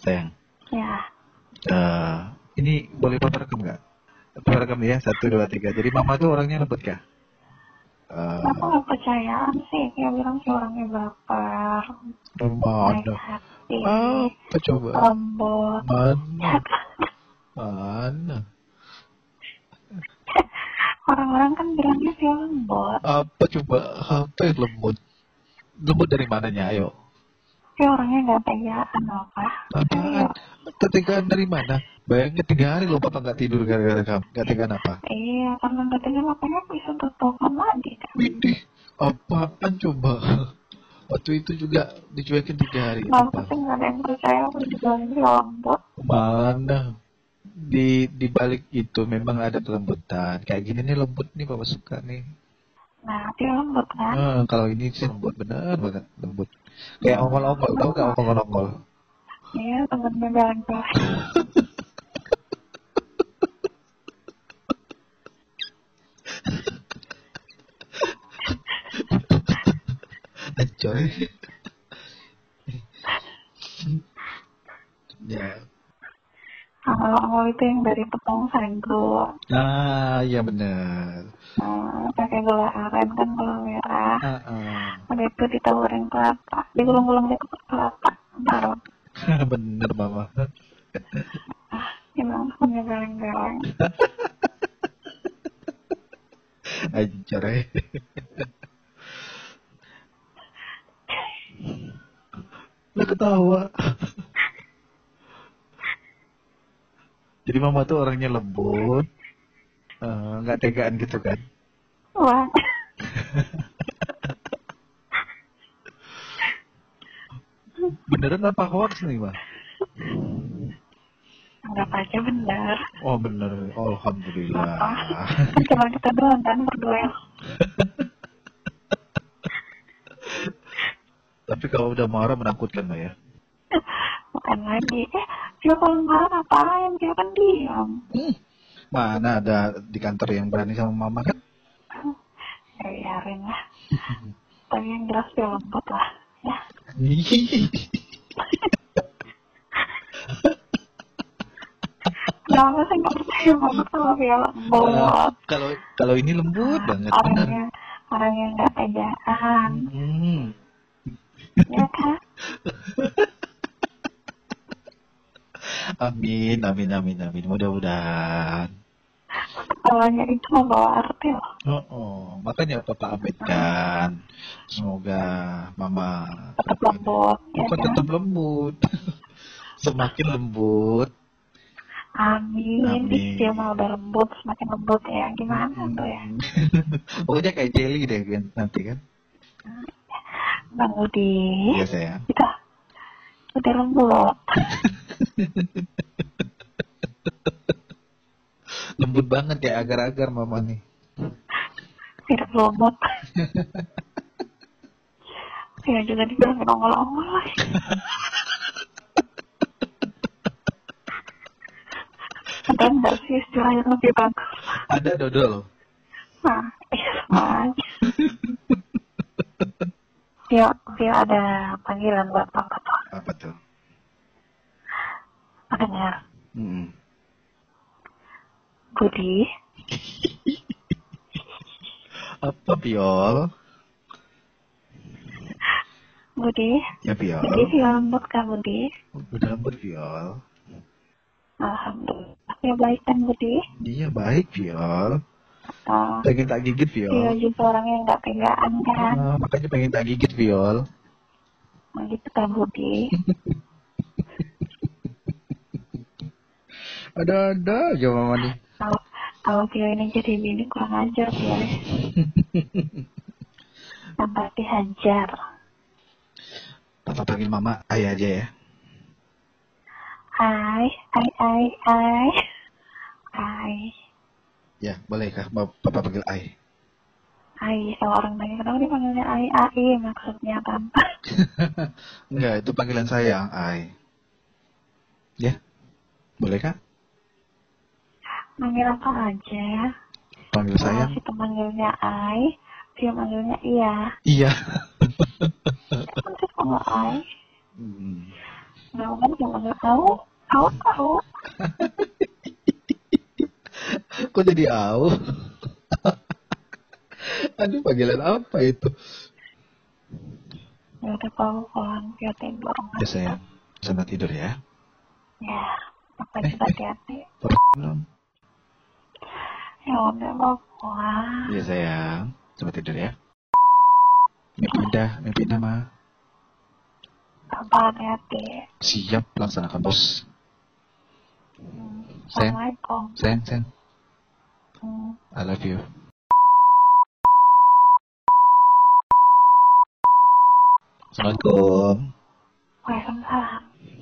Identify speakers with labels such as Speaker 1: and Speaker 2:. Speaker 1: sayang.
Speaker 2: Ya.
Speaker 1: Eh, ini boleh papa rekam nggak? Papa rekam ya, satu, dua, tiga. Jadi mama tuh orangnya lembut kah? Eh,
Speaker 2: Aku nggak percayaan sih. Dia bilang sih orangnya baper,
Speaker 1: Remon.
Speaker 2: baik hati,
Speaker 1: Apa coba?
Speaker 2: lembut.
Speaker 1: Mana? Mana?
Speaker 2: Orang-orang kan bilangnya dia lembut.
Speaker 1: Apa coba? Apa yang lembut? Lembut dari mananya? Ayo.
Speaker 2: Dia orangnya nggak tegaan apa.
Speaker 1: Apaan? Ketegangan dari mana? Bayangin tiga hari loh papa nggak tidur gara-gara kamu. Nggak tegan apa?
Speaker 2: Iya, karena nggak tegaan makanya bisa tertokan lagi kan.
Speaker 1: Widih, apaan coba? Waktu itu juga dicuekin tiga hari.
Speaker 2: Nggak
Speaker 1: Apa?
Speaker 2: penting nggak ada yang percaya aku dibilang dia lembut.
Speaker 1: Mana? Di di balik itu memang ada kelembutan. Kayak gini nih lembut nih papa suka nih.
Speaker 2: Nah, dia lembut kan.
Speaker 1: Ah, kalau ini sih lembut bener banget lembut. Kayak ongol-ongol, tau gak ongol-ongol?
Speaker 2: Iya, temennya belain-belain.
Speaker 1: Enjoy. ya.
Speaker 2: Kalau awal itu yang dari tepung sagu.
Speaker 1: Ah, ya bener.
Speaker 2: Nah, pakai gula aren kan gula merah.
Speaker 1: Ah, ah.
Speaker 2: Udah itu ditaburin kelapa, digulung-gulung di kelapa. Taruh,
Speaker 1: bener mama.
Speaker 2: gimana punya geleng-geleng.
Speaker 1: Anjay. Lu ketawa. Jadi mama tuh orangnya lembut, eh, nggak tegaan gitu kan?
Speaker 2: Wah,
Speaker 1: Beneran apa hoax nih ma?
Speaker 2: anggap aja bener.
Speaker 1: Oh bener, alhamdulillah.
Speaker 2: Kan cuma kita doang kan berduel.
Speaker 1: Tapi kalau udah marah menakutkan lah ya.
Speaker 2: Bukan lagi, eh, dia kalau marah ngapain? Dia kan diam.
Speaker 1: Hmm, Mana ada di kantor yang berani sama mama kan?
Speaker 2: Ya, biarin lah. Tapi yang jelas dia lembut lah. Ya, kenapa sih nggak percaya banget sama dia lembut?
Speaker 1: Kalau kalau ini lembut banget, bener.
Speaker 2: orangnya orangnya nggak tegaan
Speaker 1: Hmm.
Speaker 2: ya kan
Speaker 1: Amin, amin, amin, amin. Mudah-mudahan.
Speaker 2: awalnya itu membawa arti loh
Speaker 1: Oh, oh. makanya papa abaikan. Semoga mama
Speaker 2: tetap lembut ya
Speaker 1: Bukan
Speaker 2: kan
Speaker 1: tetap lembut. Semakin lembut.
Speaker 2: amin,
Speaker 1: Amin. Hmm.
Speaker 2: Ih, dia mau udah lembut semakin lembut ya gimana tuh ya
Speaker 1: Pokoknya kayak jelly deh kan, nanti kan.
Speaker 2: bang Udi
Speaker 1: Iya sayang.
Speaker 2: kita udah lembut
Speaker 1: Lembut banget ya agar-agar mama nih.
Speaker 2: tidak lembut ya juga dibilangin ongol-ongol lagi ada nggak sih istilah yang lebih bagus
Speaker 1: Ada dodol.
Speaker 2: Nah, iya sama aja. Vio, Vio ada panggilan buat Pak Ketua.
Speaker 1: Apa tuh?
Speaker 2: Makanya,
Speaker 1: Mm-mm.
Speaker 2: Budi,
Speaker 1: Apa piol?
Speaker 2: Budi,
Speaker 1: Ya piol.
Speaker 2: Budi Vio lembut kah Budi?
Speaker 1: Udah lembut piol.
Speaker 2: Alhamdulillah. Vio baik kan Budi?
Speaker 1: Iya baik piol.
Speaker 2: Oh,
Speaker 1: Pengen tak gigit
Speaker 2: Vio
Speaker 1: piol.
Speaker 2: juga orang yang nggak tegaan kan?
Speaker 1: Ah, makanya pengen tak gigit piol.
Speaker 2: Nah, gitu kan Budi?
Speaker 1: Ada ada aja mama nih.
Speaker 2: Kalau kalau Vio ini jadi bini kurang ajar Vio. Sampai dihajar.
Speaker 1: Papa panggil mama ayah aja ya.
Speaker 2: Hai, hai, hai, hai. Hai.
Speaker 1: Ya bolehkah Ma- papa panggil ayah?
Speaker 2: Ai, kalau orang nanya kenapa dipanggilnya Ai, Ai maksudnya kan.
Speaker 1: Enggak itu panggilan sayang ay. Ya bolehkah?
Speaker 2: Manggil apa aja.
Speaker 1: Panggil
Speaker 2: Kalau
Speaker 1: sayang?
Speaker 2: si pemanggilnya Ai, dia manggilnya iya.
Speaker 1: Iya.
Speaker 2: Kan sih kalau Ai,
Speaker 1: Hmm.
Speaker 2: Nah, kan cuma nggak tahu. Tahu tahu.
Speaker 1: Kok jadi au? Aduh, panggilan apa itu?
Speaker 2: Ya udah kalau pulang hati-hati doang.
Speaker 1: Ya, sayang. Sana tidur ya.
Speaker 2: Ya, apa
Speaker 1: Eh,
Speaker 2: kita hati-hati.
Speaker 1: Belum?
Speaker 2: Ya udah mau pulang.
Speaker 1: Iya, sayang. Sama tidur ya. Mimpi indah, mimpi indah, Ma.
Speaker 2: Apa hati-hati.
Speaker 1: Siap, laksanakan, bos.
Speaker 2: Hmm.
Speaker 1: Sayang.
Speaker 2: Assalamualaikum.
Speaker 1: Sayang, sayang.
Speaker 2: Hmm.
Speaker 1: I love you. Assalamualaikum.
Speaker 2: Waalaikumsalam.